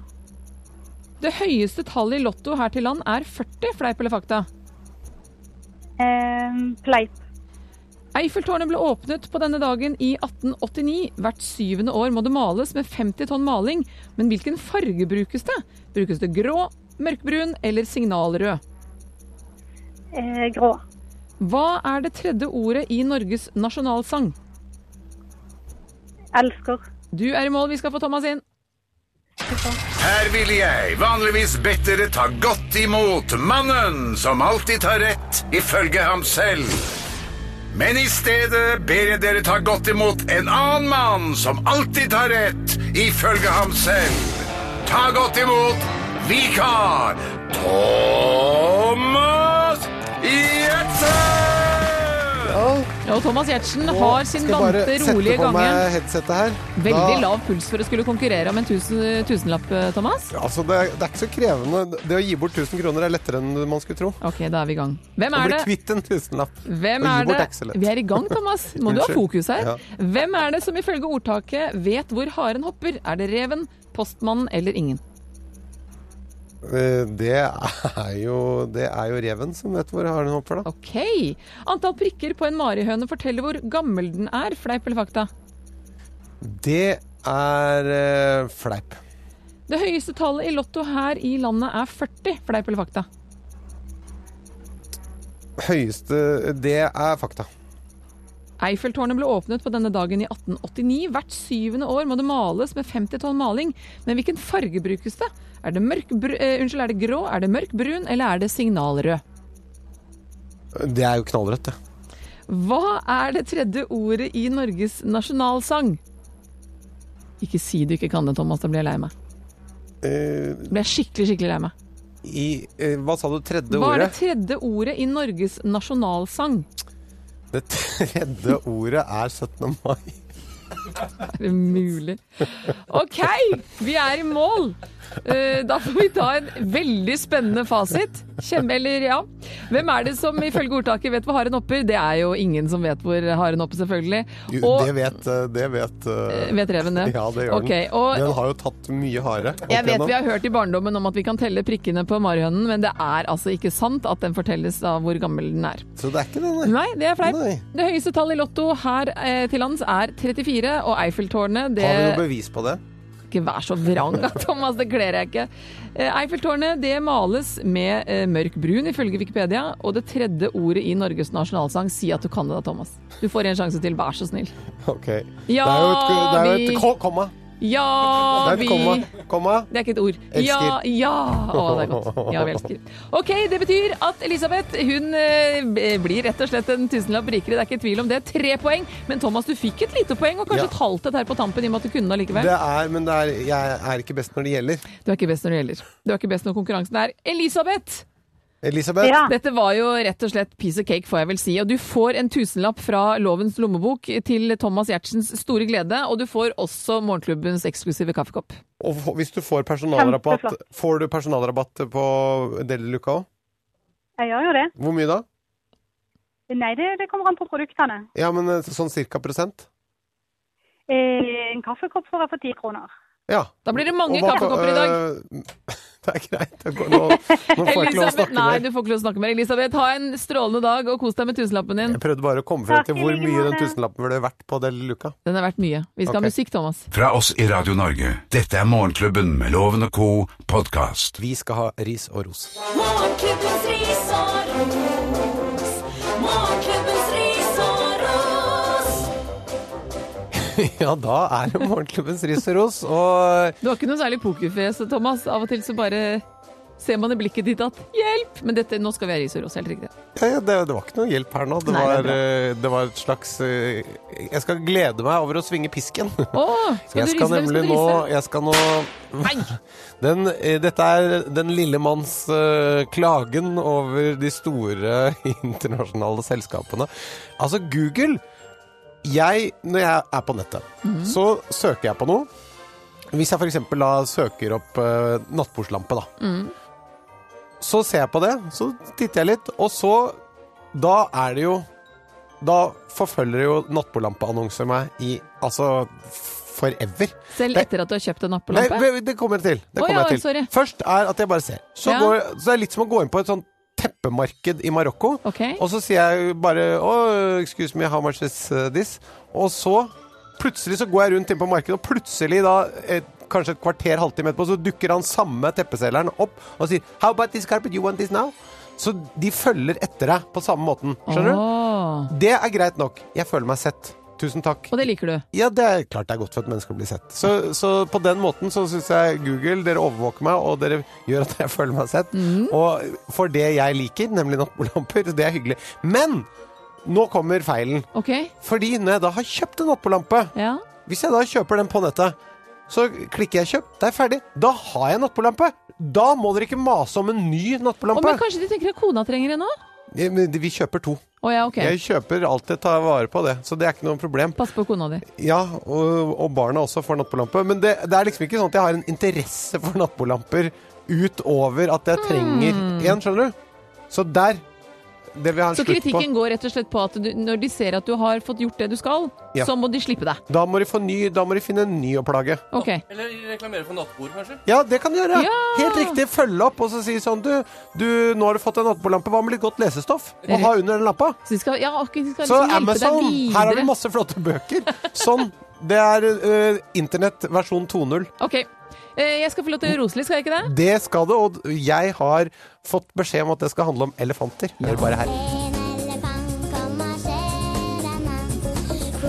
S4: Det høyeste tallet i Lotto her til land er 40, fleip eller fakta?
S10: Ehm, Pleip.
S4: Eiffeltårnet ble åpnet på denne dagen i 1889. Hvert syvende år må det males med 50 tonn maling. Men hvilken farge brukes det? Brukes det grå, mørkbrun eller signalrød?
S10: Eh, grå.
S4: Hva er det tredje ordet i Norges nasjonalsang?
S10: Elsker.
S4: Du er i mål, vi skal få Thomas inn.
S2: Her ville jeg vanligvis bedt dere ta godt imot mannen som alltid tar rett, ifølge ham selv. Men i stedet ber jeg dere ta godt imot en annen mann som alltid tar rett, ifølge ham selv. Ta godt imot vikar Thomas Gjertsen!
S4: Og Thomas Giertsen har sin vante, rolige
S3: Skal jeg bare sette på
S4: gange.
S3: meg headsetet her?
S4: Veldig
S3: Da-
S4: lav puls for å skulle konkurrere om en tusen, tusenlapp, eh, Thomas.
S3: Altså, det, er- det er ikke så krevende. Det å gi bort 1000 kroner er lettere enn man skulle tro.
S4: Ok, da er vi i gang. Hvem
S3: Å
S4: er
S3: bli
S4: det?
S3: kvitt en tusenlapp.
S4: Hvem
S3: Og gi
S4: er
S3: bort
S4: det?
S3: Axel.
S4: Vi er i gang, Thomas. Må du ha
S3: Unnskyld.
S4: fokus her.
S3: Ja.
S4: Hvem er det som ifølge ordtaket vet hvor haren hopper? Er det reven, postmannen eller ingen?
S3: Eh, Det er jo, det er jo reven som vet hvor haren hopper, da.
S4: Ok. Antall prikker på en marihøne forteller hvor gammel den er. Fleip eller fakta?
S3: Det er eh, fleip.
S4: Det høyeste tallet i Lotto her i landet er 40. Fleip eller fakta?
S3: Høyeste Det er fakta.
S4: Eiffeltårnet ble åpnet på denne dagen i 1889. Hvert syvende år må det males med 50 tonn maling. Men hvilken farge brukes det? Er det, mørk, br eh, unnskyld, er det grå, er det mørk brun eller er det signalrød?
S3: Det er jo knallrødt, det.
S4: Hva er det tredje ordet i Norges nasjonalsang? Ikke si du ikke kan det, Thomas. Da blir jeg lei meg.
S3: Eh,
S4: Da blir jeg skikkelig, skikkelig lei meg.
S3: I eh, Hva sa du? Tredje
S4: Hva er det
S3: ordet?
S4: tredje ordet i Norges nasjonalsang?
S3: Det tredje ordet er 17. mai.
S4: Er det mulig? OK, vi er i mål. Eh, Da får vi ta en veldig spennende fasit. Kjem, eller ja. Hvem er det som ifølge ordtaket vet hvor haren hopper? Det er jo ingen som vet hvor haren hopper, selvfølgelig.
S3: Jo,
S4: Og-
S3: det vet, eh, det vet eh,
S4: Vet reven det?
S3: Ja, det gjør
S4: Ok,
S3: den.
S4: og-
S3: den har jo tatt mye hare. opp
S4: Jeg vet
S3: igjennom.
S4: vi har hørt i barndommen om at vi kan telle prikkene på marihønen, men det er altså ikke sant at den fortelles av hvor gammel den er.
S3: Så det er ikke den, nei.
S4: Nei, det er fleip.
S3: Nei.
S4: Det høyeste tallet i Lotto her eh, til lands er 34, og Eiffeltårnet det
S3: Har vi noe bevis på det?
S4: Ikke vær så vrang, da, Thomas, det kler jeg ikke. Eh, Eiffeltårnet det males med eh, mørk brun, ifølge Wikipedia, og det tredje ordet i Norges nasjonalsang. Si at du kan det da, Thomas. Du får en sjanse til, vær så snill.
S3: Ok.
S4: Ja,
S3: det er jo et, det er jo
S4: vi-
S3: et ko- komma. Det
S4: Ja,
S3: er et
S4: vi
S3: komma. komma.
S4: Det er ikke et ord.
S3: Elsker.
S4: Ja, ja. Å, det er godt. Ja, vi elsker. Ok, det betyr at Elisabeth hun eh, blir rett og slett en tusenlapp rikere. Det er ikke tvil om det. Tre poeng. Men Thomas, du fikk et lite poeng, og kanskje
S3: Ja.
S4: et halvt et her på tampen i og med at du kunne det allikevel.
S3: Det er, men det er, jeg er ikke best når det gjelder.
S4: Du er ikke best når det gjelder. Du er ikke best når konkurransen er. Elisabeth!
S3: Elisabeth,
S10: Ja.
S4: Dette var jo rett og slett piece of cake, får jeg vel si. Og du får en tusenlapp fra Lovens lommebok til Thomas Giertsens store glede, og du får også morgenklubbens eksklusive kaffekopp.
S3: og f- hvis du får personalrabatt,
S10: Kjempeflott.
S3: får du personalrabatt på Deli Luca òg?
S10: Jeg gjør jo det.
S3: Hvor mye da?
S10: Nei, det, det kommer an på produktene.
S3: Ja, men eh, sånn cirka prosent?
S10: Eh, En kaffekopp får jeg for ti kroner.
S3: Ja.
S4: Da blir det mange
S3: Og hva-
S4: kaffekopper i dag.
S3: eh, det er greit. Det går, nå, nå får jeg ikke lov å
S4: Elisabeth,
S3: snakke
S4: nei,
S3: mer.
S4: du får ikke lov å snakke mer. Elisabeth, ha en strålende dag og kos deg med tusenlappen din.
S3: Jeg prøvde bare å komme frem
S10: Takk
S3: til
S10: i
S3: hvor
S10: like
S3: mye den
S10: måte.
S3: tusenlappen ville vært på Deli Luca.
S4: Den er verdt mye. Vi skal ha
S3: Ok.
S4: musikk, Thomas.
S2: Fra oss i Radio Norge, dette er Morgenklubben med Loven og Co. podkast.
S3: Vi skal ha ris og ros.
S1: Morgenklubbens ris og ros. Morgenklubbens ris og ros.
S3: Ja, da er det Morgenklubbens ris og ros. Og
S4: Du har ikke noe særlig pokerfjes, Thomas. Av og til så bare ser man i blikket ditt at 'hjelp'! Men dette, nå skal vi ha ris og ros, helt riktig.
S3: Ja, ja, det, det var ikke noe hjelp her nå. Det,
S4: Nei, det
S3: var,
S4: er bra.
S3: eh, det var et slags eh, Jeg skal glede meg over å svinge pisken.
S4: Å, skal
S3: Jeg skal
S4: du rise? Hvem
S3: nemlig
S4: skal du
S3: nå
S4: rise?
S3: Jeg skal nå
S4: Nei!
S3: den, eh, Dette er den lille manns eh, klagen over de store internasjonale selskapene. Altså, Google jeg, Når jeg er på nettet,
S4: Mhm.
S3: så søker jeg på noe. Hvis jeg f.eks. da søker opp eh, nattbordslampe, da. Så ser jeg på det, så titter jeg litt, og så Da er det jo Da forfølger jo nattbordlampeannonser meg i Altså forever.
S4: Selv
S3: Nei.
S4: etter at du har kjøpt en
S3: Nei,
S4: nappelampe?
S3: det det kommer jeg til. Det
S4: Å,
S3: kommer
S4: ja,
S3: jeg til.
S4: sorry.
S3: Først er at jeg bare ser. Så,
S4: Ja.
S3: går, så det er litt som å gå inn på et sånt teppemarked i Marokko.
S4: Ok.
S3: Og så sier jeg bare oh, excuse me, how much is uh, this? Og så plutselig så går jeg rundt inn på markedet, og plutselig da et, Kanskje et kvarter, halvtime etterpå, så dukker han samme teppeselgeren opp og sier How about this carpet? You want this now? Så de følger etter deg på samme måten. Skjønner
S4: Å,
S3: du? Det er greit nok. Jeg føler meg sett. Tusen takk.
S4: Og det liker du?
S3: Ja, det er klart det er godt for et menneske å bli sett. Så, så på den måten så syns jeg Google, dere overvåker meg, og dere gjør at jeg føler meg sett.
S4: Mhm.
S3: Og for det jeg liker, nemlig nattbordlamper, det er hyggelig. Men nå kommer feilen.
S4: Ok,
S3: Fordi når jeg da har kjøpt en nattbordlampe,
S4: ja.
S3: hvis jeg da kjøper den på nettet, så klikker jeg 'kjøp', det er ferdig. Da har jeg nattbordlampe. Da må dere ikke mase om en ny
S4: Å, men
S3: nattbordlampe.
S4: kanskje de tenker at kona trenger en nå?
S3: Ja, men Vi kjøper to.
S4: Å ja, ok.
S3: Jeg kjøper alt jeg tar vare på, det. Så det er ikke noe problem.
S4: Pass på kona di.
S3: Ja, og, og barna også får nattbordlampe. Men det, det er liksom ikke sånn at jeg har en interesse for nattbordlamper utover at jeg trenger en, skjønner du? Så der Det vil jeg ha en
S4: Hmm. Så
S3: slutt på.
S4: kritikken går rett og slett på at du, når de ser at du har fått gjort det du skal,
S3: Ja.
S4: så må de slippe deg.
S3: Da må, de få ny, da må de finne en ny å plage.
S4: Ok.
S8: Eller reklamere for nattbord, kanskje.
S3: Ja, det kan de gjøre!
S4: Ja!
S3: Helt riktig. Følge opp og så si sånn du, du, nå har du fått en nattbordlampe. Hva med litt godt lesestoff å ha under den lampa?
S4: Så de skal, ja, ok, de skal
S3: Så
S4: liksom hjelpe
S3: Amazon,
S4: deg
S3: her har
S4: videre.
S3: du masse flotte bøker. Sånn. Det er eh, internett versjon 2.0.
S4: Ok. Eh, Jeg skal få lov til å rose litt, skal jeg ikke det?
S3: Det skal det, og jeg har fått beskjed om at det skal handle om elefanter. Hør bare her.
S1: En elefant kom marsjerende fort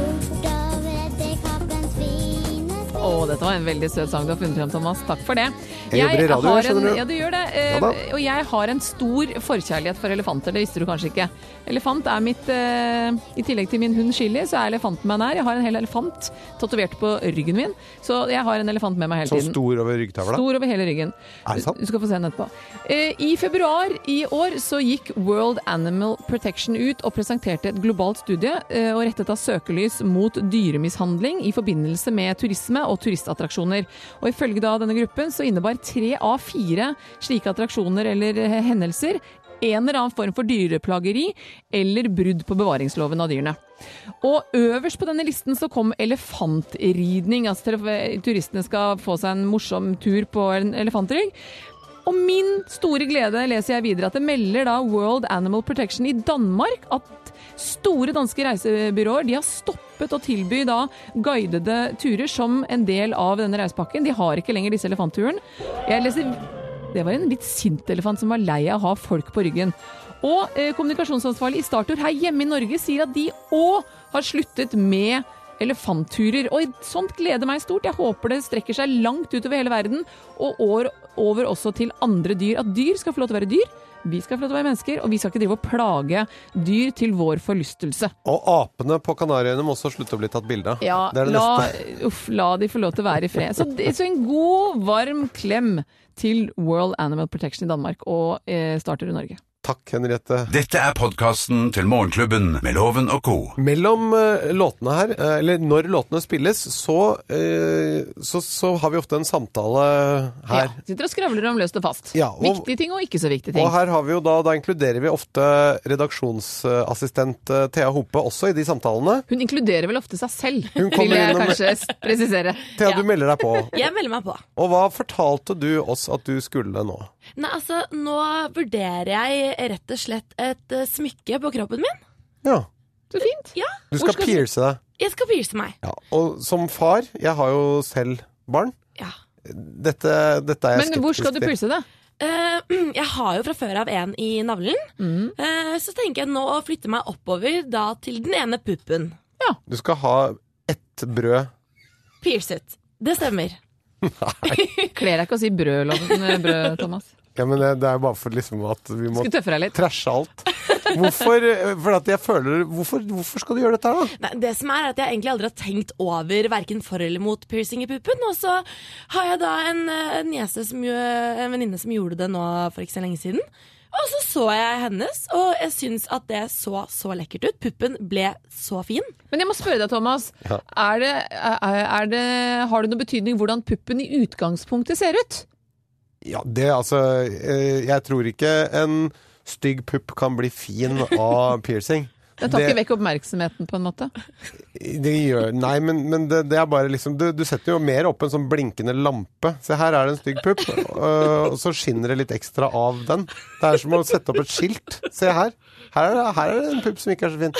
S1: over til kappens fine
S4: Å, dette var en veldig søt sang du har funnet frem, Thomas. Takk for det.
S3: Jeg jobber i radio,
S4: har
S3: skjønner
S4: en,
S3: du.
S4: Ja, du gjør det. Eh,
S3: Ja da.
S4: og jeg har en stor forkjærlighet for elefanter, det visste du kanskje ikke. Elefant er mitt eh, I tillegg til min hund Chili, så er elefanten meg nær. Jeg har en hel elefant tatovert på ryggen min, så jeg har en elefant med meg hele
S3: Så
S4: tiden.
S3: stor over ryggtavla.
S4: Stor over hele ryggen.
S3: Er det sant?
S4: Du skal få se den etterpå. Eh, I februar i år så gikk World Animal Protection ut og presenterte et globalt studie eh, og rettet av søkelys mot dyremishandling i forbindelse med turisme og turistattraksjoner. Og ifølge da denne gruppen så innebar tre av fire slike attraksjoner eller eh, hendelser en eller annen form for dyreplageri eller brudd på bevaringsloven av dyrene. Og øverst på denne listen så kom elefantridning. Altså tele- turistene skal få seg en morsom tur på en elefantrygg. Og min store glede leser jeg videre at det melder da World Animal Protection i Danmark at store danske reisebyråer de har stoppet å tilby da guidede turer som en del av denne reisepakken. De har ikke lenger disse elefantturen. Jeg leser det var en litt sint elefant som var lei av å ha folk på ryggen. Og eh, kommunikasjonsansvarlig i Startur her hjemme i Norge sier at de òg har sluttet med elefantturer. Og sånt gleder meg stort. Jeg håper det strekker seg langt utover hele verden, og år, over også til andre dyr. At dyr skal få lov til å være dyr. Vi skal få lov til å være mennesker, og vi skal ikke drive og plage dyr til vår forlystelse.
S3: Og apene på Kanariøyene må også slutte å bli tatt bilde av.
S4: Ja,
S3: Det er det
S4: la,
S3: neste.
S4: uff, la de få lov til å være i fred. Så, det- så en god, varm klem til World Animal Protection i Danmark og eh, Starter i Norge.
S3: Takk, Henriette.
S2: Dette er podkasten til Morgenklubben med Loven og co.
S3: Mellom eh, låtene her, eh, eller når låtene spilles, så, eh, så, så har vi ofte en samtale her.
S4: Ja, sitter og skravler om løst og fast.
S3: Ja, og-
S4: Viktige ting og ikke så viktige ting.
S3: Og her har vi jo da, da inkluderer vi ofte redaksjonsassistent eh, Thea Hope også i de samtalene.
S4: Hun inkluderer vel ofte seg selv,
S3: Hun kommer
S4: vil jeg
S3: innom-
S4: kanskje s- presisere.
S3: Thea,
S5: Ja.
S3: du melder deg på.
S5: Jeg melder meg på.
S3: Og hva fortalte du oss at du skulle nå?
S5: Nei, altså, nå vurderer jeg rett og slett et eh, smykke på kroppen min.
S3: Ja,
S4: Så fint.
S5: Ja,
S3: du
S4: Hvor
S3: skal,
S4: skal du-
S3: pierce deg.
S5: jeg skal pierce meg.
S3: Ja, og som far, jeg har jo selv barn.
S5: Ja.
S3: Dette, dette er jeg
S4: Men hvor skal du
S3: til.
S4: pulse det?
S5: Eh, jeg har jo fra før av en i navlen. Eh, så tenker jeg nå å flytte meg oppover da til den ene puppen.
S3: Du skal ha ett brød.
S5: Piercet. Det stemmer.
S4: Kler deg ikke å si eh, brød, Loven- brød Thomas.
S3: Ja, men det, det er jo bare for liksom at vi må
S4: Skulle tøffe deg litt.
S3: trashe alt. Hvorfor, eh, for at jeg føler, hvorfor, hvorfor skal du gjøre dette her, da?
S5: Nei, det som er er at Jeg egentlig aldri har tenkt over verken for eller mot piercing i puppen. Og så har jeg da en, eh, niese som, jo- en venninne som gjorde det nå for ikke så lenge siden. Og så så jeg hennes, og jeg syns at det så så lekkert ut. Puppen ble så fin.
S4: Men jeg må spørre deg, Thomas. Er det, er, er det, har det noen betydning hvordan puppen i utgangspunktet ser ut?
S3: Ja, det er altså eh, Jeg tror ikke en stygg pupp kan bli fin av piercing.
S4: Den tar
S3: Det-
S4: ikke vekk oppmerksomheten, på en måte.
S3: Det gjør Nei, men, men det, det er bare liksom du, du setter jo mer opp en sånn blinkende lampe. Se, her er det en stygg pupp, øh, og så skinner det litt ekstra av den. Det er som å sette opp et skilt. Se her. Her er det, her er det en pupp som ikke er så fin.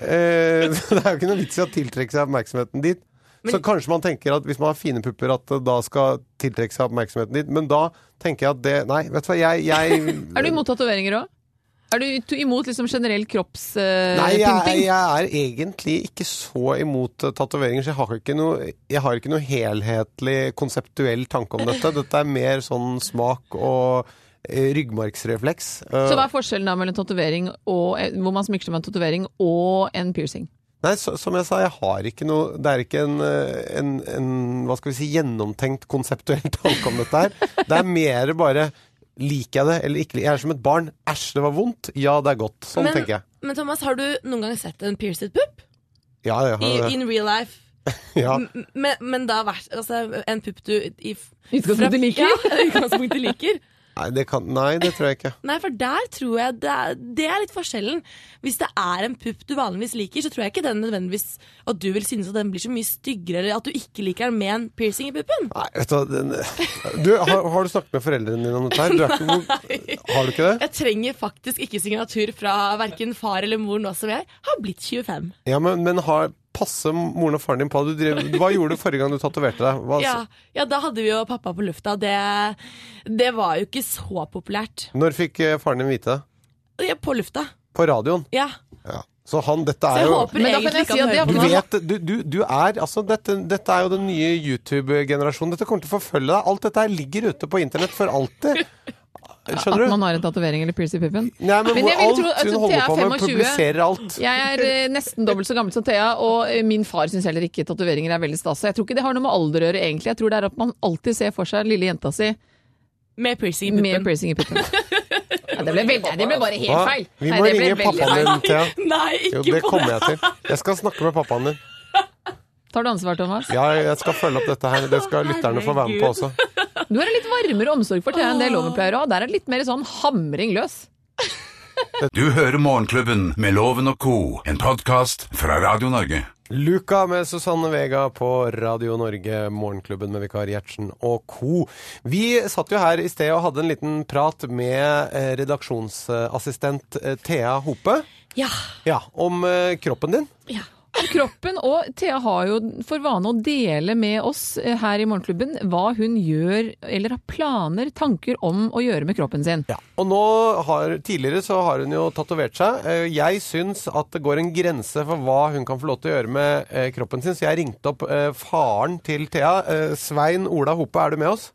S3: Eh, det er jo ikke noe vits i å tiltrekke seg oppmerksomheten dit. så kanskje man tenker at hvis man har fine pupper, at det da skal tiltrekke seg oppmerksomheten dit. Men da tenker jeg at det Nei, vet du hva, jeg, jeg
S4: Er du imot tatoveringer òg? Er du to- imot liksom generell eh,
S5: Eh,
S3: Nei, jeg,
S4: kroppspynting?
S3: jeg er egentlig ikke så imot eh, tatoveringer, så jeg har, ikke noe, jeg har ikke noe helhetlig konseptuell tanke om dette. Dette er mer sånn smak og eh, ryggmargsrefleks. Eh,
S4: så hva er forskjellen da mellom tatovering og, eh, hvor man smykker seg med en tatovering og en piercing?
S3: Nei, så, som jeg sa, jeg har ikke noe Det er ikke en, eh, en, en hva skal vi si, gjennomtenkt konseptuell tanke om dette her. Det er mer bare Liker jeg det eller ikke? Jeg er som et barn. Æsj, det var vondt. Ja, det er godt. Sånn
S5: Men-
S3: tenker jeg.
S5: Men Thomas, har du noen gang sett en pierced pupp?
S3: Ja, ja,
S5: I,
S3: ja,
S5: in real life?
S3: ja.
S5: M- Men, men da vært, altså, en pupp du i f-
S4: Utgangspunktet liker.
S5: Ja, i utgangspunktet liker.
S3: Nei, det kan, nei, det tror jeg ikke.
S5: Nei, for der tror jeg det er, det er litt forskjellen. Hvis det er en pupp du vanligvis liker, så tror jeg ikke den nødvendigvis at du vil synes at den blir så mye styggere, eller at du ikke liker den med en piercing i puppen.
S3: Nei, vet du hva den, du, har, har du snakket med foreldrene dine om dette her? Du er ikke, hvor, har du ikke det?
S5: Jeg trenger faktisk ikke signatur fra verken far eller mor nå som jeg har blitt 25.
S3: Ja, men, men har, passer moren og faren din på? Du drev, hva gjorde du forrige gang du tatoverte deg? Hva,
S5: Ja, ja, da hadde vi jo pappa på lufta. Det, det var jo ikke så populært.
S3: Når fikk eh, faren din vite det?
S5: Ja, På lufta,
S3: På radioen.
S5: ja.
S3: Ja. Så han, dette
S5: Så
S3: er
S5: jeg
S3: jo
S5: håper
S4: Men da kan
S5: egentlig
S4: jeg
S5: ikke
S4: si
S5: han
S4: at det
S5: hører
S4: er
S5: på
S3: du
S5: nå.
S3: vet, du, du, du er, altså dette, dette er jo den nye YouTube-generasjonen. Dette kommer til å forfølge deg. Alt dette her ligger ute på internett for alltid.
S4: At
S3: Skjønner du?
S4: man har en tatovering eller piercing i puppen?
S3: Nei, men,
S4: Men
S3: hvor
S4: jeg vil
S3: alt
S4: tro at
S3: hun holder
S4: Thea
S3: på med,
S4: 25
S3: publiserer alt.
S4: Jeg er eh, nesten dobbelt så gammel som Thea, og eh, min far syns heller ikke tatoveringer er veldig stas. Så Jeg tror ikke det har noe med alder å gjøre, egentlig. Jeg tror det er at man alltid ser for seg lille jenta si
S5: Med piercing i
S4: med
S5: puppen.
S4: piercing i puppen. Ja, det, ble veldig, nei, det ble bare helt
S3: Hva?
S4: feil.
S3: Vi
S4: Nei,
S3: må
S4: det ble
S3: ringe
S4: veldig
S3: pappaen
S4: feil.
S3: din, Thea.
S5: Nei,
S3: Jo,
S5: ikke
S3: det
S5: på
S3: kommer jeg til. Jeg skal snakke med pappaen din.
S4: Tar du ansvar, Thomas?
S3: Ja, jeg skal følge opp dette her. Det skal lytterne få være med på også.
S4: Du har en litt varmere omsorg for Thea enn det loven pleier å ha. Der er det litt mer sånn hamring løs.
S2: Du hører Morgenklubben med Loven og Co., en podkast fra Radio Norge.
S3: Luca med Susanne Vega på Radio Norge, Morgenklubben med vikar Gjertsen og co. Vi satt jo her i sted og hadde en liten prat med eh, redaksjonsassistent eh, Thea Hope
S5: Ja,
S3: ja, om eh, kroppen din.
S5: ja.
S4: kroppen, og Thea har jo for vane å dele med oss eh, her i Morgenklubben hva hun gjør, eller har planer, tanker om å gjøre med kroppen sin.
S3: Og nå har, tidligere så har hun jo tatovert seg. Eh, Jeg syns at det går en grense for hva hun kan få lov til å gjøre med eh, kroppen sin, så jeg ringte opp eh, faren til Thea. Eh, Svein Ola Hope, er du med oss?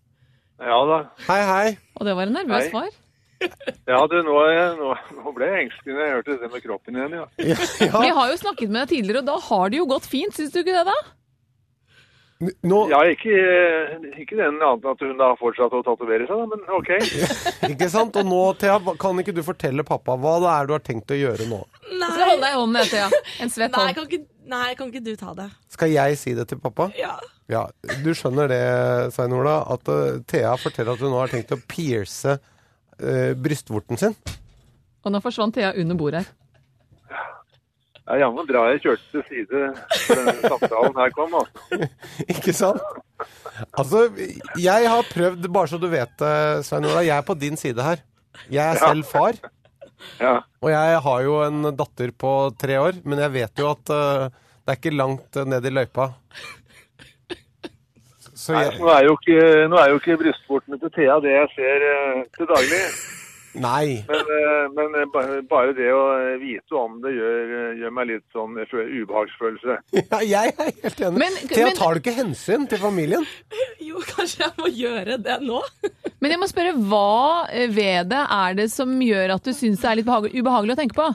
S7: Ja da.
S3: Hei, hei.
S4: Og det var en nervøs
S7: Hei.
S4: far.
S7: Ja, du, nå, er jeg- nå, nå ble jeg engstelig når jeg hørte det med kroppen igjen, ja.
S4: Vi har jo snakket med deg tidligere, og da har det jo gått fint, syns du ikke det da?
S3: N- Nå,
S7: Ja, ikke, ikke den annet enn at hun har fortsatt å tatovere seg, da, men OK.
S3: Ikke sant? Og nå, Thea, hva- kan ikke du fortelle pappa hva det er du har tenkt å gjøre nå?
S4: Jeg skal holde deg i hånden, jeg, Thea. En svett
S5: Nei,
S4: hånd.
S5: kan ikke, nei, kan ikke du ta det?
S3: Skal jeg si det til pappa?
S5: Ja.
S3: Ja, Du skjønner det, Svein Ola, at eh, Thea forteller at hun nå har tenkt å pierce eh, brystvorten sin.
S4: Og nå forsvant Thea under bordet her.
S7: Det er jammen bra jeg kjørte til side for denne samtalen her kom, altså.
S3: Ikke sant? Altså, jeg har prøvd, bare så du vet det, Svein Ola, jeg er på din side her. Jeg er selv far,
S7: Ja.
S3: og jeg har jo en datter på tre år, men jeg vet jo at eh, det er ikke langt eh, ned i løypa. Så
S7: Nei,
S3: jeg,
S7: Nå er jo ikke, nå er jo ikke brystvortene til Thea det jeg ser eh, til daglig.
S3: Nei.
S7: Men, eh, men eh, bare- bare det å eh, vite om det gjør, gjør meg litt sånn jeg føler ubehagsfølelse.
S3: Ja, jeg er helt enig.
S4: Men-
S3: Thea,
S4: men-
S3: tar du ikke hensyn til familien?
S5: Jo, kanskje jeg må gjøre det nå?
S4: Men jeg må spørre, hva eh, ved det er det som gjør at du syns det er litt behag- ubehagelig å tenke på?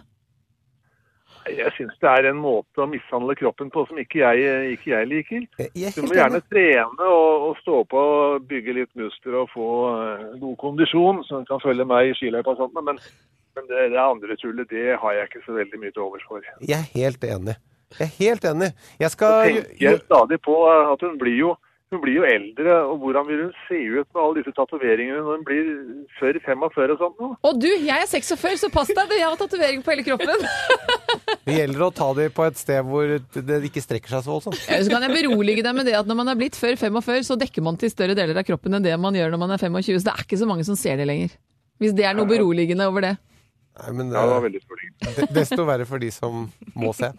S7: Jeg syns det er en måte å mishandle kroppen på som ikke jeg, eh, ikke jeg liker.
S3: Jeg er
S7: Du må
S3: helt
S7: gjerne
S3: enig.
S7: trene og, og stå på og bygge litt muskler og få eh, god kondisjon, så du kan følge meg i skiløypa og sånt, men, men det, det andre tullet, det har jeg ikke så veldig mye til overs for.
S3: Jeg er helt enig. Jeg er helt enig. Jeg
S7: Jeg
S3: skal
S7: tenker stadig på eh, at hun blir jo hun blir jo eldre, og hvordan vil hun se ut med alle disse tatoveringene når hun blir før 45 og sånt nå?
S4: Og du, jeg er 46, så pass deg, jeg har tatovering på hele kroppen.
S3: Det gjelder å ta dem på et sted hvor det ikke strekker seg så voldsomt.
S4: Eh, Så kan jeg berolige deg med det at når man er blitt før 45, så dekker man til større deler av kroppen enn det man gjør når man er 25, så det er ikke så mange som ser det lenger. Hvis det er noe beroligende over det.
S3: Nei, men
S7: Ja, det var
S3: eh,
S7: veldig spurning.
S3: de- desto verre for de som må se.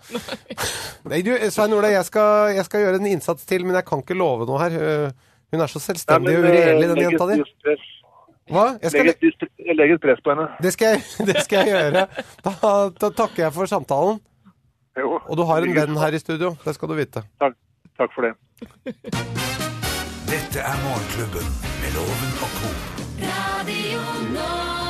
S3: Nei, du, Svein Ola, jeg skal, jeg skal gjøre en innsats til, men jeg kan ikke love noe her. Eh, Hun er så selvstendig og
S7: eh,
S3: uregjerlig, den jenta di. Hva? Jeg skal,
S7: Legg et press på henne.
S3: det, skal jeg, det skal jeg gjøre. Da, da takker jeg for samtalen.
S7: Jo.
S3: Og du har en venn her i studio, det skal du vite.
S7: Takk, takk for det.
S2: Dette er Morgenklubben med Loven og co.
S1: Radio Nova.